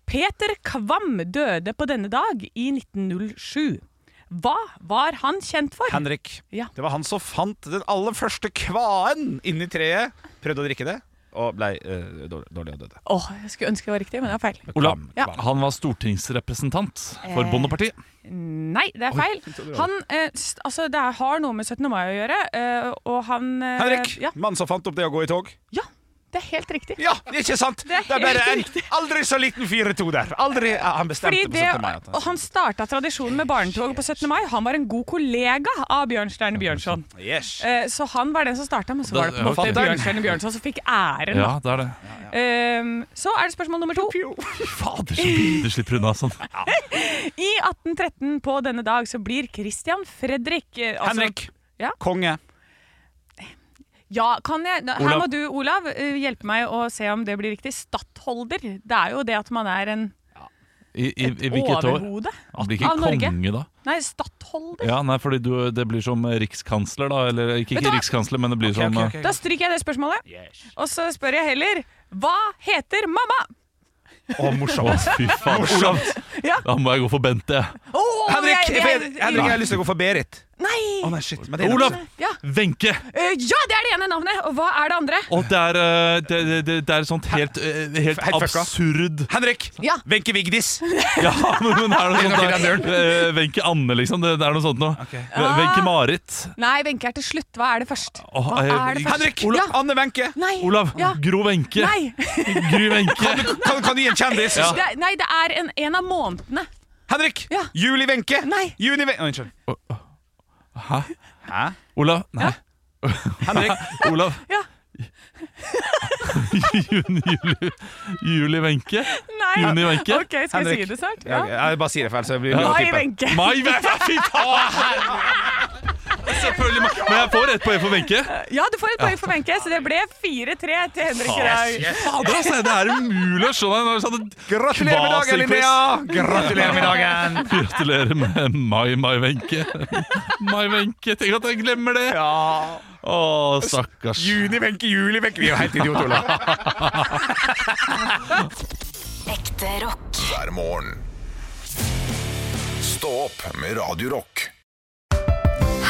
Peter Kvam døde på denne dag i 1907. Hva var han kjent for? Henrik. Ja. Det var han som fant den aller første kvaen inni treet. Prøvde å drikke det, og ble eh, dårlig dårlig og døde. Åh, jeg skulle ønske det var riktig, men det er feil. Olav, Ja. han var stortingsrepresentant for Eh. Bondepartiet. Nei, det er feil. Han, eh, st- altså, det er- har noe med 17. mai å gjøre, eh, og han eh, Henrik, Ja, mannen som fant opp det å gå i tog. ja, det er helt riktig. Ja, ikke sant? Det er er, bare helt en aldri så liten 4-2 der. Aldri, ja, han bestemte Fordi på 17. det, altså. mai. altså. at og han starta tradisjonen med barnetog på 17. mai. Han var en god kollega av Bjørnstjerne Bjørnson. Yes. Eh, Så han var den som starta, men så var det på en Ja, måte fatter'n. Bjørnstjerne Bjørnson som fikk æren. da. Ja, det er det. Eh, Så er det spørsmål nummer to. Fader, så mye du slipper unna sånn. I 1813 på denne dag så blir Christian Fredrik eh, altså- Henrik. Ja? Konge. Ja, kan jeg? Her Olav. må du, Olav, eh, hjelpe meg å se om det blir riktig. Stattholder. Det er jo det at man er en I, i, i hvilket år? overhode. Han blir Av ikke Norge. konge, da. Nei, stattholder. Ja, nei, fordi du, Det blir som rikskansler, da. Eller ikke, Vet du ikke hva? rikskansler, men det blir sånn, eh, Ok, som ok, ok. Da stryker jeg det spørsmålet. Og så spør jeg heller hva heter mamma? Å, morsomt. Å, fy faen. Olav, Ja. da må jeg gå for Bente. Åh, Henrik, jeg- jeg- Henrik, Henrik, jeg har lyst til å gå for Berit. Nei! Å nei, shit. men det er- Olav! Ja. Wenche! Eh, ja, det er det ene navnet! Og hva er det andre? Og det er, eh, det, det, det, det er sånt helt, eh, helt Helt fucka. absurd Henrik! Ja. Wenche Vigdis. Ja, men men er det noe Det er nok i den sånt der? Eh, Wenche Anne, liksom. Det, det er noe sånt noe. Ah! Wenche Marit. Nei, Wenche er til slutt. Hva er det først? Åh, Hva eh, er det først? Henrik! Olav. Anne Wenche. Nei. Olav. Ja. Gro Wenche. Nei. Gry Wenche. Kan, kan du gi en kjendis? Ja. Det, er- nei, det er en, en av månedene. Henrik! Ja. Julie Wenche. Nei. Juni Wenche Å, Unnskyld. Hæ? Hæ? Olav? Nei. Henrik. Olav? Ja. Juni, juli, juli Wenche? Juni Wenche. Ok, skal jeg si det snart? Ja. Ja. ok. Jeg bare sier det feil, så jeg blir Mai tippet. Wenche. Mai Wenche, fy faen! Selvfølgelig. Mai. Men jeg får rett poeng for Wenche. Ja, du får et poeng for Wenche, så det ble 4-3 til Henrik i dag. Fader, altså. Det er umulig å skjønne. når jeg hadde Gratulerer med dagen, kvasrequest. Linnea! Gratulerer med dagen! Gratulerer med Mai Mai Wenche. Mai Wenche. Tenk at jeg glemmer det. Ja. Å, stakkars. Juni Wenche, juli Wenche. Vi er jo helt idioter, Olav. Ekte rock. hver morgen. Stå opp med Radio Rock.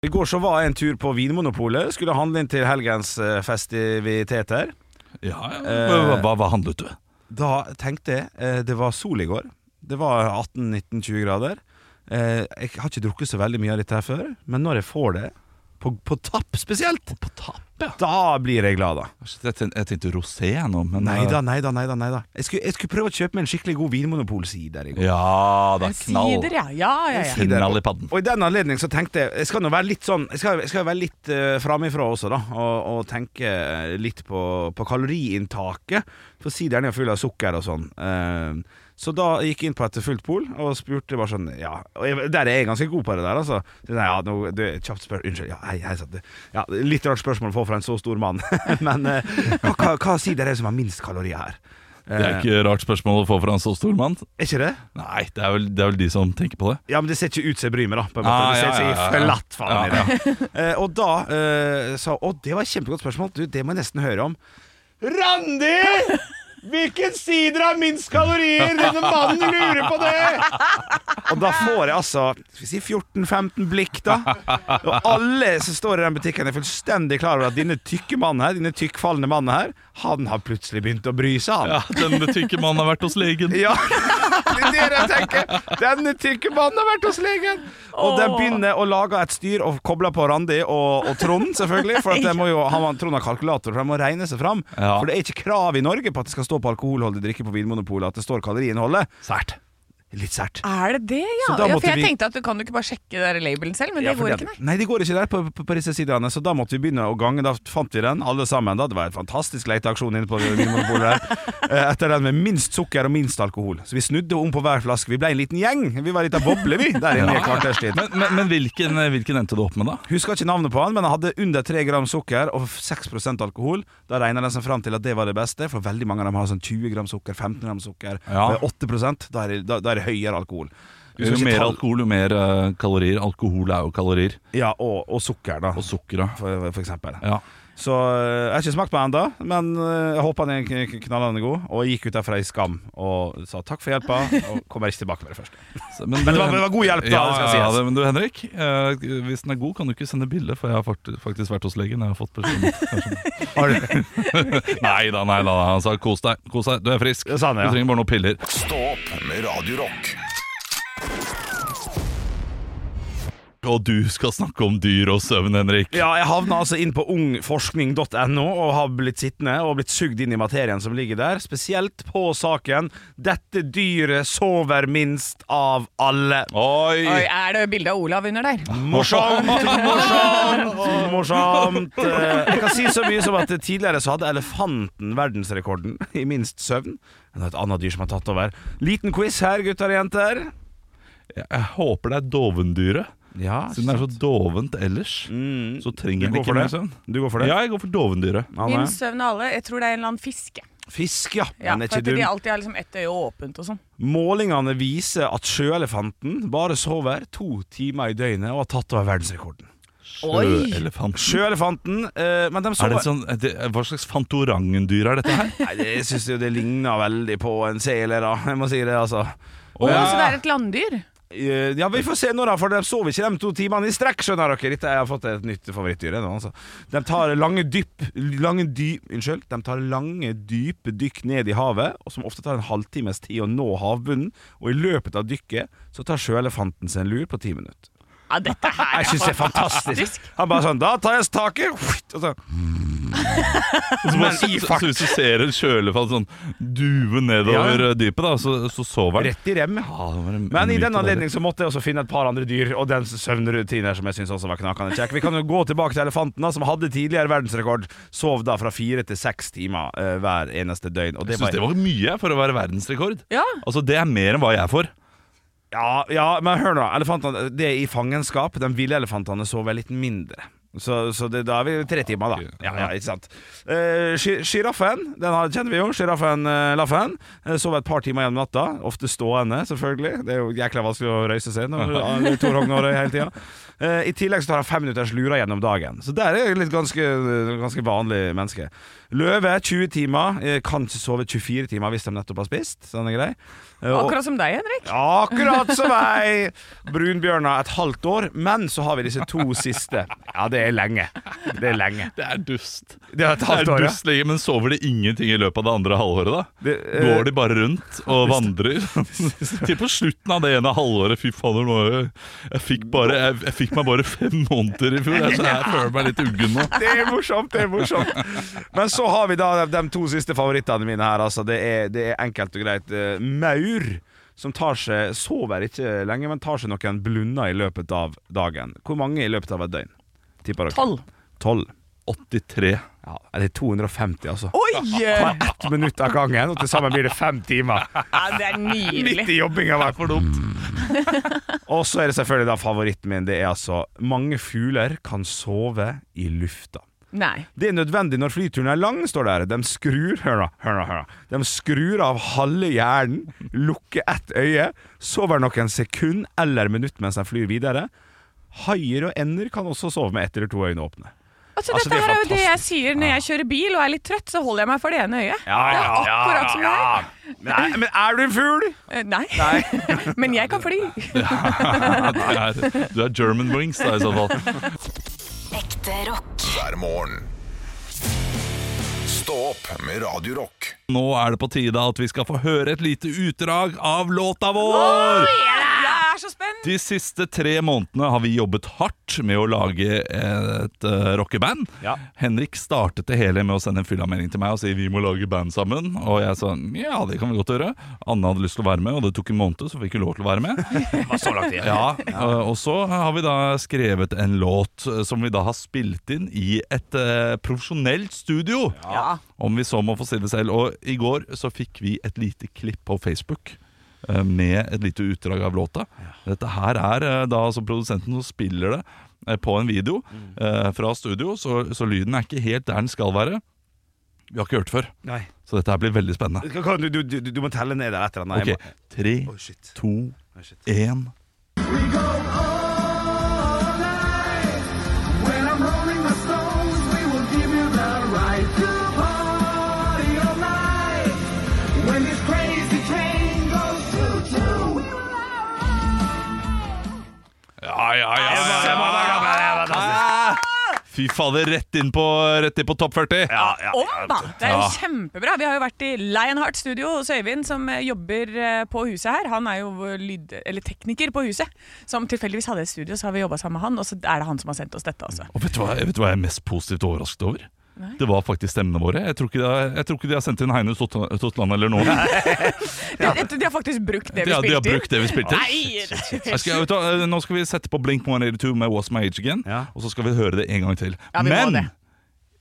I går så var jeg en tur på Vinmonopolet. Skulle handle inn til helgens eh, festiviteter. Ja, ja. Eh. Hva, hva, hva handlet du? Da tenkte jeg eh, Det var sol i går. Det var 18-19-20 grader. Eh, Jeg har ikke drukket så veldig mye av dette her før, men når jeg får det, på, på tapp spesielt, På tapp, ja. da blir jeg glad, da. Jeg tenkte, jeg tenkte rosé nå, men Nei da, nei da, nei da. nei da Jeg skulle, jeg skulle prøve å kjøpe meg en skikkelig god vinmonopolsider i går. eh, Ja, det er knall. Sider, ja. Ja, ja, ja. Knall i padden. Og i den anledning så tenkte jeg Jeg skal nå være litt sånn Jeg skal, jeg skal være litt uh, framifrå også, da. Og, og tenke litt på, på kaloriinntaket. For sideren er jo full av sukker og sånn. Eh, så da gikk jeg inn på et fullt pol og spurte bare sånn Ja, og jeg, der er jeg ganske god på det der, altså. Så, nei, ja, nå, du, kjapt spør Unnskyld. Ja, hei, hei, sant, det- ja, litt rart spørsmål å få fra en så stor mann. Men eh, hva, hva, hva sider er det som har minst kalorier her? Det er ikke rart spørsmål å få fra en så stor mann. Er ikke det? Nei, det er vel, det er vel de som tenker på det. Ja, men det ser ikke ut som jeg bryr meg, da. På en måte. Ah, det ser ja, ut som ja, jeg er ja, ja. flatt faen i det. Eh, og da eh, sa hun Å, det var et kjempegodt spørsmål. Du, det må jeg nesten høre om. Randi! Hvilken sider har minst kalorier? Denne mannen lurer på det! Og da får jeg altså skal vi si 14-15 blikk, da. Og alle som står i den butikken, er fullstendig klar over at denne tykke mannen her, denne tykkfallende mannen her, han har plutselig begynt å bry seg, han. Ja, Den tykke mannen har vært hos legen. Ja, det er det jeg tenker. Denne tykke mannen har vært hos legen. Og den begynner å lage et styr og koble på Randi og, og Trond, selvfølgelig. For at det må jo, han, Trond har kalkulator, for de må regne seg fram. Ja. For det er ikke krav i Norge på at det skal stå på alkoholholdig drikke på Vinmonopolet at det står kaloriinnholdet. Sært. Litt sært. Er det det, ja? Så da ja måtte for jeg vi- tenkte at du kan jo ikke bare sjekke det der labelen selv, men Ja, det for går ikke, nei. nei. det går ikke der på, på, på disse sidene, så da måtte vi begynne å gange. Da fant vi den, alle sammen. Da. Det var en fantastisk leteaksjon inne på Vinmonopolet der. Eh, Etter den med minst sukker og minst alkohol. Så vi snudde om på hver flaske. Vi ble en liten gjeng. Vi var litt av boble, vi, der inne i et kvarters tid. Men, men, men hvilken, hvilken endte du opp med, da? Husker ikke navnet på han, men han hadde under 3 gram sukker og 6 alkohol. Da regner den seg fram til at det var det beste, for veldig mange av dem har sånn 20 gram sukker, 15 gram sukker, Ja. og 8 da er, det, da, da er det høyere alkohol. Jo Husker ikke mer tall- alkohol, jo mer eh, kalorier. Alkohol er jo kalorier. Ja, og, og sukker, da, Og sukker, da. for, for eksempel. Ja. Så øh, jeg har ikke smakt på den ennå, men øh, jeg håper den er kn- kn- knallende god. Og jeg gikk ut derfra i skam og sa takk for hjelpa, og kommer ikke tilbake med det første. Så- Men, det var- det var god hjelp, da, Ja, det skal ja, sies. det- men du, Henrik, eh, hvis den er god, kan du ikke sende bilde, for jeg har fakt- faktisk vært hos legen. Jeg har fått beskjed. nei da, nei da. Han sa kos deg, kos deg. Du er frisk. Det sa han, ja. Du trenger bare noen piller. Stå opp med Radio Rock Og du skal snakke om dyr og søvn, Henrik. Ja, jeg havna altså inn på ungforskning.no og har blitt sittende og blitt sugd inn i materien som ligger der, spesielt på saken 'Dette dyret sover minst av alle'. Oi! Oi, er det bilde av Olav under der? Morsomt, morsomt, morsomt. Eh, Jeg kan si så mye som at tidligere så hadde elefanten verdensrekorden i minst søvn. Men Det er et annet dyr som har tatt over. Liten quiz her, gutter og jenter. Jeg, jeg håper det er dovendyret. Ja, Siden det er så dovent ellers, så trenger du den Mm. går ikke for mer det? søvn. Du går for det? Ja, jeg går for dovendyret. Anne? Min søvn og alle. Jeg tror det er en eller annen fiske. Fisk, ja. Ja, Men er for ikke at de dum. alltid har liksom ett øye åpent og sånn. Målingene viser at sjøelefanten bare sover to timer i døgnet og har tatt over verdensrekorden. Sjøelefant. Sjøelefanten, eh, men de Er sover det sånn, er det, hva slags Fantorangen-dyr er dette her? Nei, det- Jeg syns jo det ligner veldig på en sele, da. Jeg må si det, altså. Å, Å, så det er et landdyr? Eh, Ja, vi får se nå, da, for de sover ikke de to timene i strekk, skjønner dere. Dette, jeg har fått et nytt favorittdyr. jeg Nå, altså. De tar lange dyp lange dy, Unnskyld. De tar lange, dype dykk ned i havet, og som ofte tar en halvtimes tid å nå havbunnen. Og i løpet av dykket så tar sjøelefanten seg en lur på ti minutter. Ja, dette her Jeg syns det er fantastisk. Han bare sånn Da tar jeg taket, og så Så bare su- su- så Hvis du ser en kjølefall sånn duve nedover eh, dypet, da, så, så sover den. rett i rem. Men i den anledning så måtte jeg også finne et par andre dyr, og den søvnrutinen som jeg syns også var knakende kjekk. Vi kan jo gå tilbake til elefanten, da, som hadde tidligere verdensrekord. Sov da fra fire til seks timer eh, hver eneste døgn. Og det Jeg syns det var var mye for å være verdensrekord. Ja. Altså, Det er mer enn hva jeg får. ja, ja, men hør nå. Elefantene, det er i fangenskap. De ville elefantene sover litt mindre. Så, så det, da er vi tre timer, da. Ja, ja, ikke sant. Sjiraffen, den har- kjenner vi jo. Sjiraffen eh, Laffen. eh, Sov et par timer gjennom natta. Ofte stående, selvfølgelig. Det er jo jækla vanskelig å røyse seg når alle Tor Hognåre hele tida. Eh, I tillegg så tar han fem minutters lura gjennom dagen. Så der er jeg litt ganske, ganske vanlig menneske. Løve 20 timer. eh, Kan ikke sove 24 timer hvis de nettopp har spist. Sånn er grei. Eh, og- Akkurat som deg, Henrik. Akkurat som meg! Brunbjørna et halvt år, men så har vi disse to siste. Ja, det er lenge. Det er lenge. Det er dust. Det er et Det er halvt år, ja. dust lenge, Men sover de ingenting i løpet av det andre halvåret, da? Det, eh, Går de bare rundt og vandrer? Til på slutten av det ene halvåret Fy fader, nå er jeg, jeg, fikk bare, jeg, jeg fikk meg bare fem måneder i fjor, så jeg føler meg litt uggen nå. Det er morsomt, det er morsomt. Men så har vi da de, de to siste favorittene mine her. Altså, det, er, det er enkelt og greit. eh, Maur, som tar seg sover ikke lenge, men tar seg noen blunder i løpet av dagen. Hvor mange i løpet av et døgn? Tipper dere? Tolv. Tolv. 83. Ja, det er 250, altså. Oi! Bare Ja, ett minutt av gangen, og til sammen blir det fem timer. det er nydelig. Midt i jobbinga var for dumt. Og så er det selvfølgelig da favoritten min. Det er altså mange fugler kan sove i lufta. Nei. Det er nødvendig når flyturen er lang, står det her. De skrur Hør nå, hør nå. hør nå De skrur av halve hjernen, lukker ett øye, sover noen sekund eller minutt mens de flyr videre. Haier og ender kan også sove med ett eller to øyne åpne. Altså, Altså, dette det er her er jo det jeg fantastisk. sier når jeg kjører bil og er litt trøtt, så holder jeg meg for det ene øyet. det er akkurat som det her. Nei, men er du en fugl? Eh, Nei. Men jeg kan fly. Ja, det er, du er German wings, da, i så fall. Ekte rock. hver morgen. Stå opp med Radio Rock. Nå er det på tide at vi skal få høre et lite utdrag av låta vår! Jeg er så spent! De siste tre månedene har vi jobbet hardt med å lage et eh, rockeband. Ja. Henrik startet det hele med å sende en fyllamelding til meg og si vi må lage band sammen. Og jeg sa ja, det kan vi godt gjøre. Anne hadde lyst til å være med, og det tok en måned, så fikk hun lov til å være med. Ja, eh, Og så har vi da skrevet en låt eh, som vi da har spilt inn i et eh, profesjonelt studio. Om vi så må få si det selv. Og i går så fikk vi et lite klipp på Facebook eh, med et lite utdrag av låta. Dette her er eh, da altså produsenten som spiller det eh, på en video Mm. eh, fra studio, så, så lyden er ikke helt der den skal være. Vi har ikke hørt det før, Nei. så dette her blir veldig spennende. Du, du, du, du må telle ned der etter den. Ok, tre, Oi, shit. to, Oi, shit. én Ja, ja, ja. Fy fader, rett inn på, rett inn på topp 40. Om, da! Det er jo Ja. kjempebra. Vi har jo vært i Lionheart Studio hos Øyvind, som eh, jobber eh, på huset her. Han er jo vår lyd, eller tekniker på huset, som tilfeldigvis hadde et studio, så har vi jobba sammen med han, og så er det han som har sendt oss dette, altså. Og vet du, hva, vet du hva jeg er mest positivt overrasket over? Det var faktisk stemmene våre. Jeg tror ikke, de har- jeg tror ikke de har sendt inn Heine Tot- Totland eller noen. De, de, de har faktisk brukt det De, vi har- de har spilte brukt det vi spilte. Nei! det er Jeg skal, vet du, hva, eh, nå skal vi sette på Blink 182 med What's My Age Again, Ja. og så skal vi høre det en gang til. Ja, vi må Men det.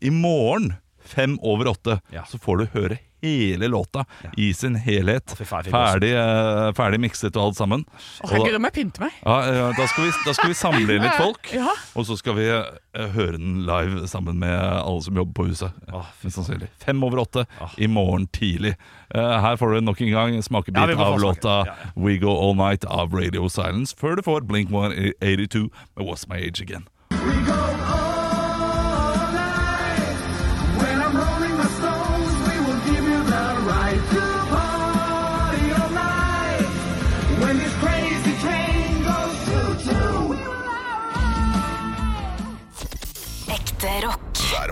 i morgen, fem over åtte, Ja. så får du høre hele låta i sin helhet. fy faen, jeg fikk Ferdig, eh, ferdig mikset og alt sammen. Å, Og da- herregud, om jeg pynter meg. Ja, ja, da, skal vi, da skal vi samle inn litt folk, Ja. og så skal vi eh, høre den live sammen med alle som jobber på huset. Ah, Mest sannsynlig. Fem over åtte i morgen tidlig. Eh, her får du nok en gang en Ja, smakebit vi må få av smake. låta Ja, ja. We Go All Night av Radio Silence, før du får Blink 182 med What's My Age Again. When this crazy train Ekte rock. hver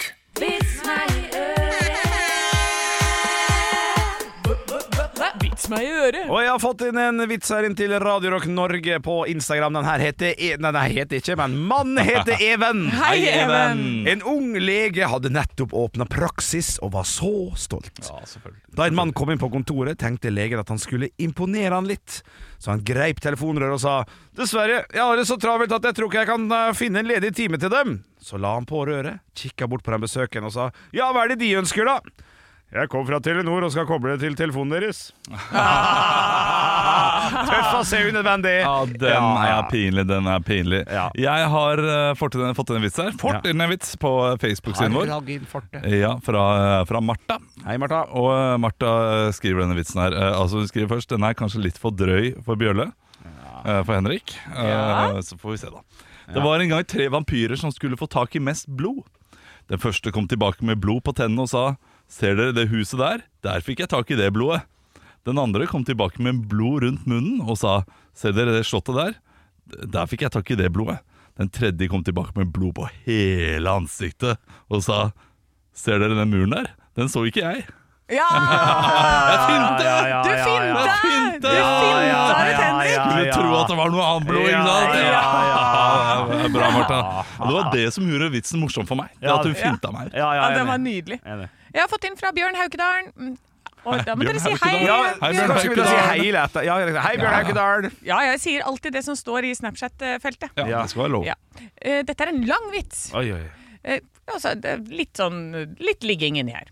Vits meg i øret! Og jeg har fått inn en vits her inn til Radio Rock Norge på Instagram. Den her heter e Nei, den heter ikke, men mannen heter Even. Hei, Even! En ung lege hadde nettopp åpna praksis og var så stolt. Ja, selvfølgelig. Da en mann kom inn på kontoret, tenkte legen at han skulle imponere han litt. Så han greip telefonrøret og sa Dessverre, jeg har det så travelt at jeg tror ikke jeg kan eh, finne en ledig time til dem. Så la han på røret, kikka bort på den besøkende og sa Ja, hva er det de ønsker, da? Jeg kom fra Telenor og skal koble det til telefonen deres. Tøff å se unødvendig. Ja, den er pinlig, den er pinlig. Ja. Jeg har eh, fått inn, fått inn en vits her. Fått inn en vits på Facebook-siden vår. Ja, fra, eh, fra Martha. Hei, Martha. Og eh, Martha eh, skriver denne vitsen her. Eh, Altså Hun skriver først den er kanskje litt for drøy for Bjørle. eh, For Henrik. Eh, Så får vi se, da. Det var en gang tre vampyrer som skulle få tak i mest blod. Den første kom tilbake med blod på tennene og sa Ser dere det huset der? Der fikk jeg tak i det blodet. Den andre kom tilbake med blod rundt munnen og sa Ser dere det slottet der? D- Der fikk jeg tak i det blodet. Den tredje kom tilbake med blod på hele ansiktet og sa Ser dere den muren der? Den så ikke jeg. Ja! Jeg finte! Du ja, ja. finta! Du Finte! finta ut Henrik! Skulle tro at det var noe annet blod, ikke sant? Ja, ja, Ja, det er Bra, Martha. Og det var det som gjorde vitsen morsom for meg. Det at hun finta meg. Ja, Ja, den var nydelig. Jeg har fått inn fra Bjørn Haukedalen. Mm. Og da må Bjørn dere si hei. Haukedalen. Ja, Bjørn. hei, så Bjørn kanskje vi da sier Haukedal. hei, eller etter- ja, hei Bjørn Haukedal. Ja, jeg sier alltid det som står i Snapchat-feltet. Ja, det skal være lov. Ja. Eh, Dette er en lang vits. Eh, altså, det er litt sånn litt ligging inni her.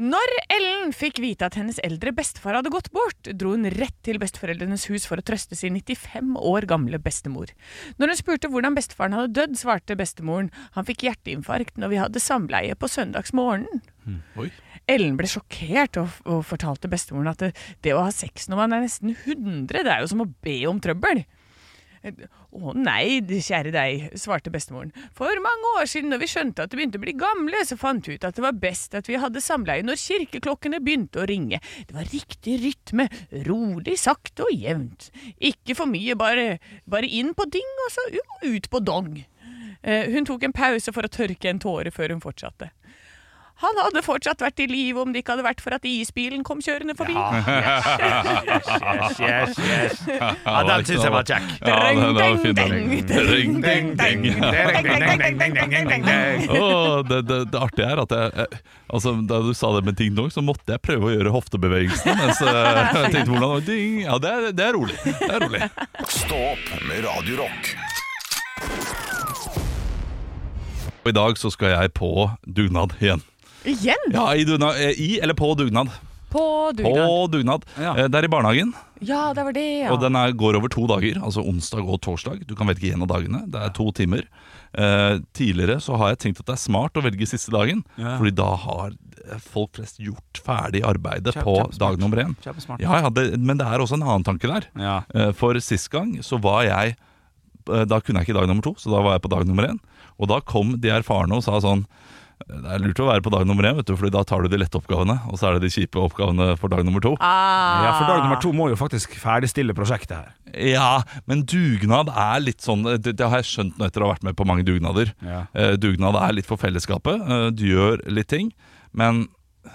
Når Ellen fikk vite at hennes eldre bestefar hadde gått bort, dro hun rett til besteforeldrenes hus for å trøste sin 95 år gamle bestemor. Når hun spurte hvordan bestefaren hadde dødd, svarte bestemoren han fikk hjerteinfarkt når vi hadde samleie på søndagsmorgenen. Oi. Ellen ble sjokkert og, og fortalte bestemoren at det, det å ha sex når man er nesten 100, det er jo som å be om trøbbel. Å nei, kjære deg, svarte bestemoren. For mange år siden, når vi skjønte at vi begynte å bli gamle, så fant vi ut at det var best at vi hadde samleie når kirkeklokkene begynte å ringe. Det var riktig rytme, rolig, sakte og jevnt. Ikke for mye, bare, bare inn på ding og så u- ut på dong. Eh, Hun tok en pause for å tørke en tåre før hun fortsatte. Han hadde fortsatt vært i live om det ikke hadde vært for at isbilen kom kjørende forbi. Ja, den syns jeg var kjekk. Ja, den den var fin. Dreng, Dreng, deng, deng. Åh, det, det, det artige er at jeg, jeg altså, Da du sa det med ding dong, så måtte jeg prøve å gjøre hoftebevegelsen. Mens eh, jeg tenkte hvordan ding. Ja, det er, det er rolig. Det er rolig. Stå opp med Radio Rock. Og i dag så skal jeg på dugnad igjen. Igjen? Ja, i, dugna- eh, i eller på dugnad. På dugnad. På dugnad. Ja. Eh, Det er i barnehagen. Ja, det var det, ja. Og den er, går over to dager, altså onsdag og torsdag. Du kan velge en av dagene. Det er to timer. Eh, tidligere så har jeg tenkt at det er smart å velge siste dagen, Fordi da har eh, folk flest gjort ferdig arbeidet på dag nummer én. Ja, ja, det, men det er også en annen tanke der. Ja. Eh, for sist gang så var jeg eh, Da kunne jeg ikke dag nummer to, så da var jeg på dag nummer én. Og da kom de erfarne og sa sånn det er lurt å være på dag nummer én, vet du, Fordi da tar du de lette oppgavene. Og så er det de kjipe oppgavene for dag nummer to. Ah. Ja, for dag nummer to må jo faktisk ferdigstille prosjektet her. Ja, men dugnad er litt sånn Det, det har jeg skjønt nå etter å ha vært med på mange dugnader. Ja. Eh, dugnad er litt for fellesskapet. Eh, du gjør litt ting. Men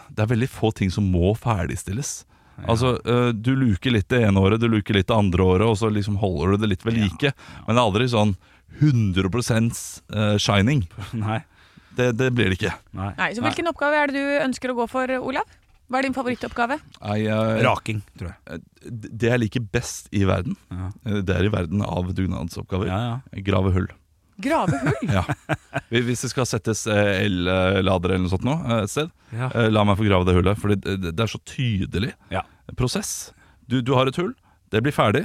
det er veldig få ting som må ferdigstilles. Altså, eh, Du luker litt det ene året, du luker litt det andre året, og så liksom holder du det litt ved like. Men det er aldri sånn 100 eh, shining. Nei. Det, det blir det ikke. Nei, så Hvilken oppgave er det du ønsker å gå for, Olav? Hva er din favorittoppgave? Nei, eh, Raking, tror jeg. Det jeg liker best i verden, eh, det er i verden av dugnadsoppgaver. Ja, Grave hull. Grave hull? Ja. Hvis det skal settes eh, el-lader eller noe sånt nå, eh, et sted, Ja. eh, la meg få grave det hullet. For det det er så tydelig Ja. prosess. Du, du har et hull, det blir ferdig,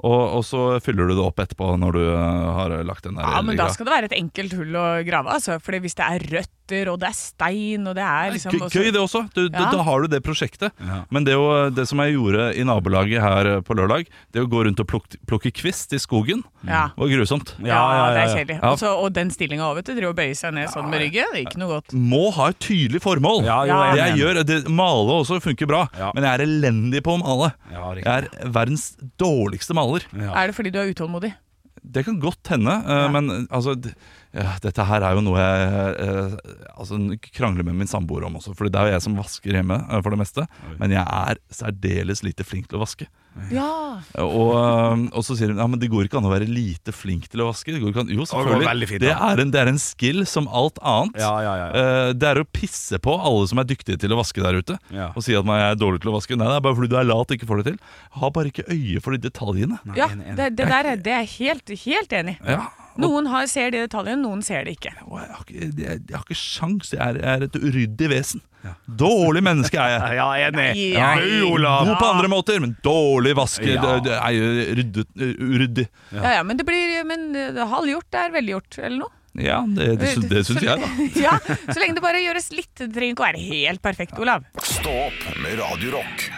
og, og så fyller du det opp etterpå når du eh, har lagt den der Ja, men elgreia. Da skal det være et enkelt hull å grave. Altså, fordi hvis det er røtter, og det er stein og det er liksom Gøy- Gøy det også, du, da, Ja. da har du det prosjektet Ja. Men det, å, det som jeg gjorde i nabolaget her eh, på lørdag Det å gå rundt og plukke, plukke kvist i skogen Ja. Var grusomt Ja, det er kjedelig. Mm. Ja. Og så- Og den stillinga òg, vet du. Driver og bøyer seg ned sånn med ryggen. Ikke noe godt. Må ha et tydelig formål Ja, jo, Det Ja. jeg jeg mener. gjør, det, male også funker bra, Ja. men jeg er elendig på å male. Ja, riktig. Jeg er verdens dårligste maler. Ja. Er det fordi du er utålmodig? Det kan godt hende, eh, men altså d- ja, Dette her er jo noe jeg eh, altså, krangler med min samboer om også. Fordi det er jo jeg som vasker hjemme eh, for det meste. Men jeg er særdeles lite flink til å vaske. Ja. Og, eh, og så sier hun ja, men det går ikke an å være lite flink til å vaske. Det går ikke an. Jo, går veldig selvfølgelig. fint, Det da. er, en, det er en skill som alt annet. Ja, ja, ja, ja. Eh, Det er å pisse på alle som er dyktige til å vaske der ute. Ja. Og si at man er dårlig til å vaske. Nei, det er bare fordi du er lat og ikke får det til. Ha bare ikke øye for de detaljene. ja enig, enig. det, det der er- det er jeg helt, helt enig i. Ja, Noen har, ser de detaljene, noen ser det ikke. Og jeg har ikke, jeg, jeg har ikke sjans. Jeg er, jeg er et uryddig vesen. Dårlig menneske er jeg. Ja, enig. Nei, Ja, nei. God på andre måter, men dårlig vaske. Ja. Det, det er jo ryddet, eh, uryddig. Ja, ja, men det blir Men eh, halvgjort er velgjort, eller noe. Ja, det, det, sy- det syns jeg, da. ja, Så lenge det bare gjøres litt. Det trenger ikke å være helt perfekt, Olav. Stå opp med Radio Rock.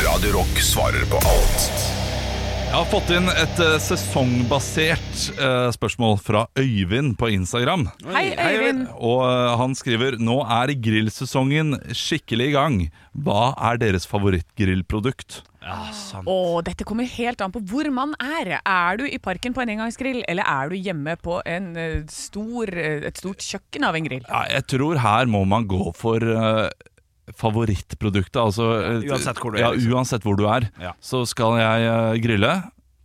Radio Rock svarer på alt. Jeg har fått inn et eh, sesongbasert eh, spørsmål fra Øyvind på Instagram. Hei, Øyvind. Og eh, han skriver Nå er grillsesongen skikkelig i gang. Hva er deres favorittgrillprodukt? Åh, dette kommer helt an på hvor man er. Er du i parken på en engangsgrill, eller er du hjemme på en eh, stor, eh, et stort kjøkken av en grill? Ja, jeg tror her må man gå for eh, favorittproduktet. Altså, eh, Uansett hvor du er, Ja, liksom. uansett hvor du er. Ja. Så skal jeg eh, grille.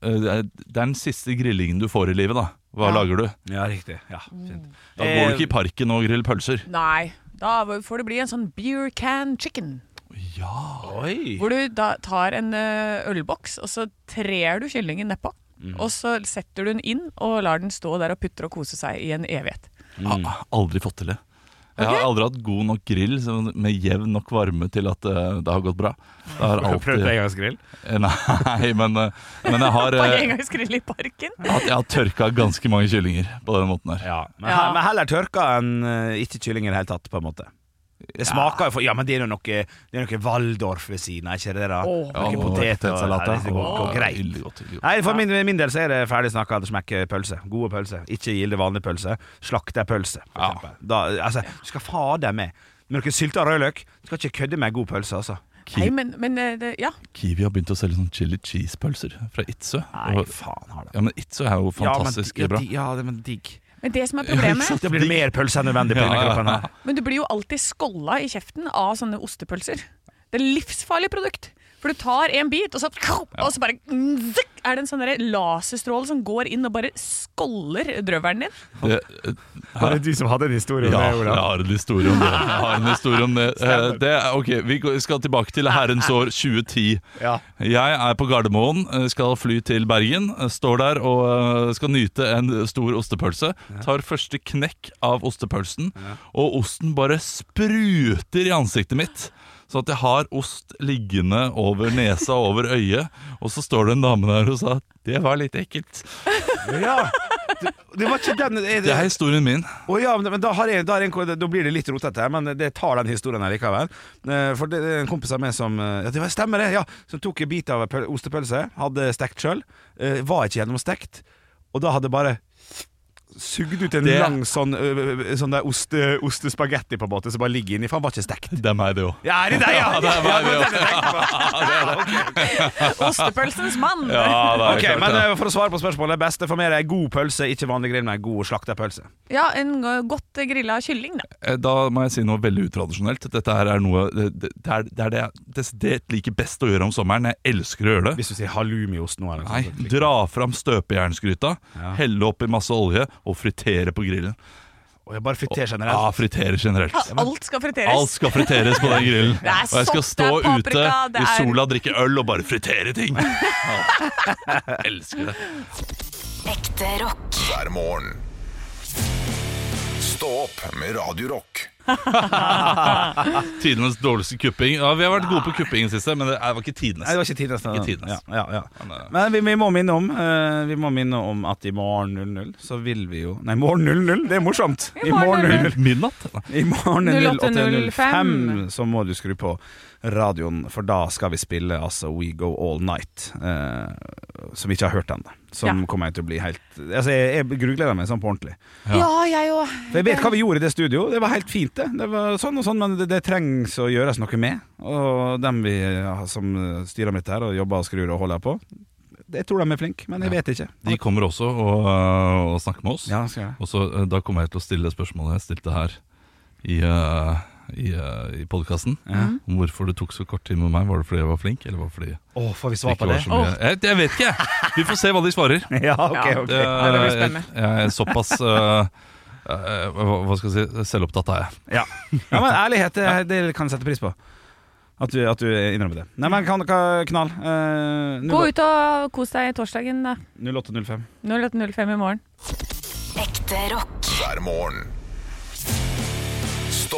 Eh, det er det er den siste grillingen du får i livet, da. Hva Ja. lager du? Ja, Eh, riktig. Ja, fint. Da går du ikke i parken og griller pølser. Nei, da får det bli en sånn beer can chicken. Oi. Hvor du da tar en eh, ølboks, og så trer du kyllingen nedpå. Mhm. Og så setter du den inn og lar den stå der og putre og kose seg i en evighet. Jeg har aldri fått til det. Jeg har aldri hatt god nok grill så- med jevn nok varme til at eh, det har gått bra. Det har Prøvd alltid engangsgrill? Eh, Nei, men, eh, men jeg har, På eh, engangsgrill i parken. at jeg har tørka ganske mange kyllinger på den måten her. Ja. Men, Ja. he- men heller tørka enn eh, ikke kylling i det hele tatt, på en måte. Det smaker jo for Ja, men det er jo noe, det er noe Waldorf ved siden av, ikke det? da? Åh. Ja, og Noe potet og potetsalat, salat. ja. Det går, Åh, går greit. ille godt, ille godt. Nei, For min, min del så er det ferdig snakka. Det smekker pølse. Gode pølser. Ikke gilde vanlig pølse. Slakterpølse, for Ja. eksempel. Da, altså, du skal fader med. Med noe sylta rødløk. Du skal ikke kødde med god pølse, altså. Ki- Nei, men, men eh, det, ja. Kiwi har begynt å selge sånn chili cheese-pølser fra Itzu. Nei, Og- faen har det. Ja, men Itzu er jo fantastisk ja, men, bra. Ja, de- ja, det- men digg. Men det som er problemet Da blir det mer pølse enn nødvendig på denne Ja, ja, kroppen. ja. her Men du blir jo alltid skålla i kjeften av sånne ostepølser. Det er livsfarlig produkt. For du tar en bit, og så, og så bare zzz, er det en sånn derre laserstråle som går inn og bare skåller drøvelen din. Det, Var det du som hadde en historie om ja, det, jeg Olav? har en historie om det. Jeg har en historie om det. Eh, det er- ok, Vi går- skal tilbake til herrens år 2010. Ja. Jeg er på Gardermoen, eh, skal fly til Bergen. eh, Står der og eh, skal nyte en stor ostepølse. Tar første knekk av ostepølsen, og osten bare spruter i ansiktet mitt. Så at jeg har ost liggende over nesa og over øyet. Og så står det en dame der og sa 'det var litt ekkelt'. Ja. Det, det var ikke den eh, er Det er historien min. Å ja, men men da, har jeg, da, har jeg, en- da blir det litt rotete, her, men det tar den historien her likevel. Eh, For det er en kompis av meg som eh, Ja, det var- stemmer det! ja Som tok en bit av en pøl- ostepølse, hadde stekt sjøl, var ikke gjennomstekt, og da hadde bare Sugd ut en Det- lang sånn, ø, ø, sånn der oste, ostespagetti på en måte som bare ligger inni, for han var ikke stekt. Det er meg, det òg. Ja, er det deg, ja? Ja, det er meg, det også. Ostepølsens mann! Ja, det er Ok, klart men det. eh, For å svare på spørsmålet, beste for meg er god pølse, ikke vanlig grill, men god slakterpølse. Ja, en go- godt grilla kylling, da. Eh, Da må jeg si noe veldig utradisjonelt. Dette her er noe Det, det, det er det er det jeg desidert liker best å gjøre om sommeren. Jeg elsker å gjøre det. Hvis du sier halloumiost nå. Eller noe Nei, sånt, liksom. Dra fram støpejernsgryta, helle oppi masse olje og fritere på grillen. Og jeg bare friter generelt. Ja, fritere generelt. Alt skal friteres. Alt skal friteres på den grillen. Det er Og jeg skal sopp, stå det er ute paprika, det i er- sola, drikke øl og bare fritere ting. Ja. Elsker det. Ekte rock. hver morgen. Stå opp med Radio Rock. Tidenes dårligste kupping. Ja, vi har vært gode på kupping i det siste, men det er- var ikke Nei, det tidenes. var ikke tidenes. da. Ikke tidenes. Ja, ja, Men, ja. eh, Men vi, vi, må minne om, eh, vi må minne om at i morgen 00 så vil vi jo Nei, morgen 00, det er morsomt! I morgen 00. Midnatt? I morgen 08.05 08.05, så må du skru på radioen, for da skal vi spille altså We Go All Night. eh, som vi ikke har hørt ennå. Som Ja. kommer jeg til å bli helt Altså, jeg, jeg grugleder meg sånn på ordentlig. Ja, jeg òg. For jeg vet hva vi gjorde i det studio. Det var helt fint, det. Det var sånn og sånn, men det, det trengs å gjøres noe med. Og dem vi ja, som styrer med dette her og jobber og skrur og holder på, jeg tror de er flinke, men jeg vet ikke. De kommer også og, øh, og snakker med oss. Ja, skal jeg det. Og så øh, Da kommer jeg til å stille spørsmålet jeg stilte her i, øh, i, øh, i podkasten. Om Hvorfor det tok så kort tid med meg. Var det fordi jeg var flink, eller var det fordi jeg Å, får vi svar ikke på var det? så mye jeg, jeg vet ikke! Vi får se hva de svarer. Ja, ok, Ja. ok. Det, det blir jeg, spennende. jeg er såpass øh, øh, hva hva skal jeg si selvopptatt er jeg. Ja. ja, men ærlighet, det, det kan jeg sette pris på. At du, at du innrømmer det. Nei, men kan dere knall? Gå Eh, ut og kos deg torsdagen, da. 08.05. 08.05 i morgen. Ekte rock. hver morgen. Stå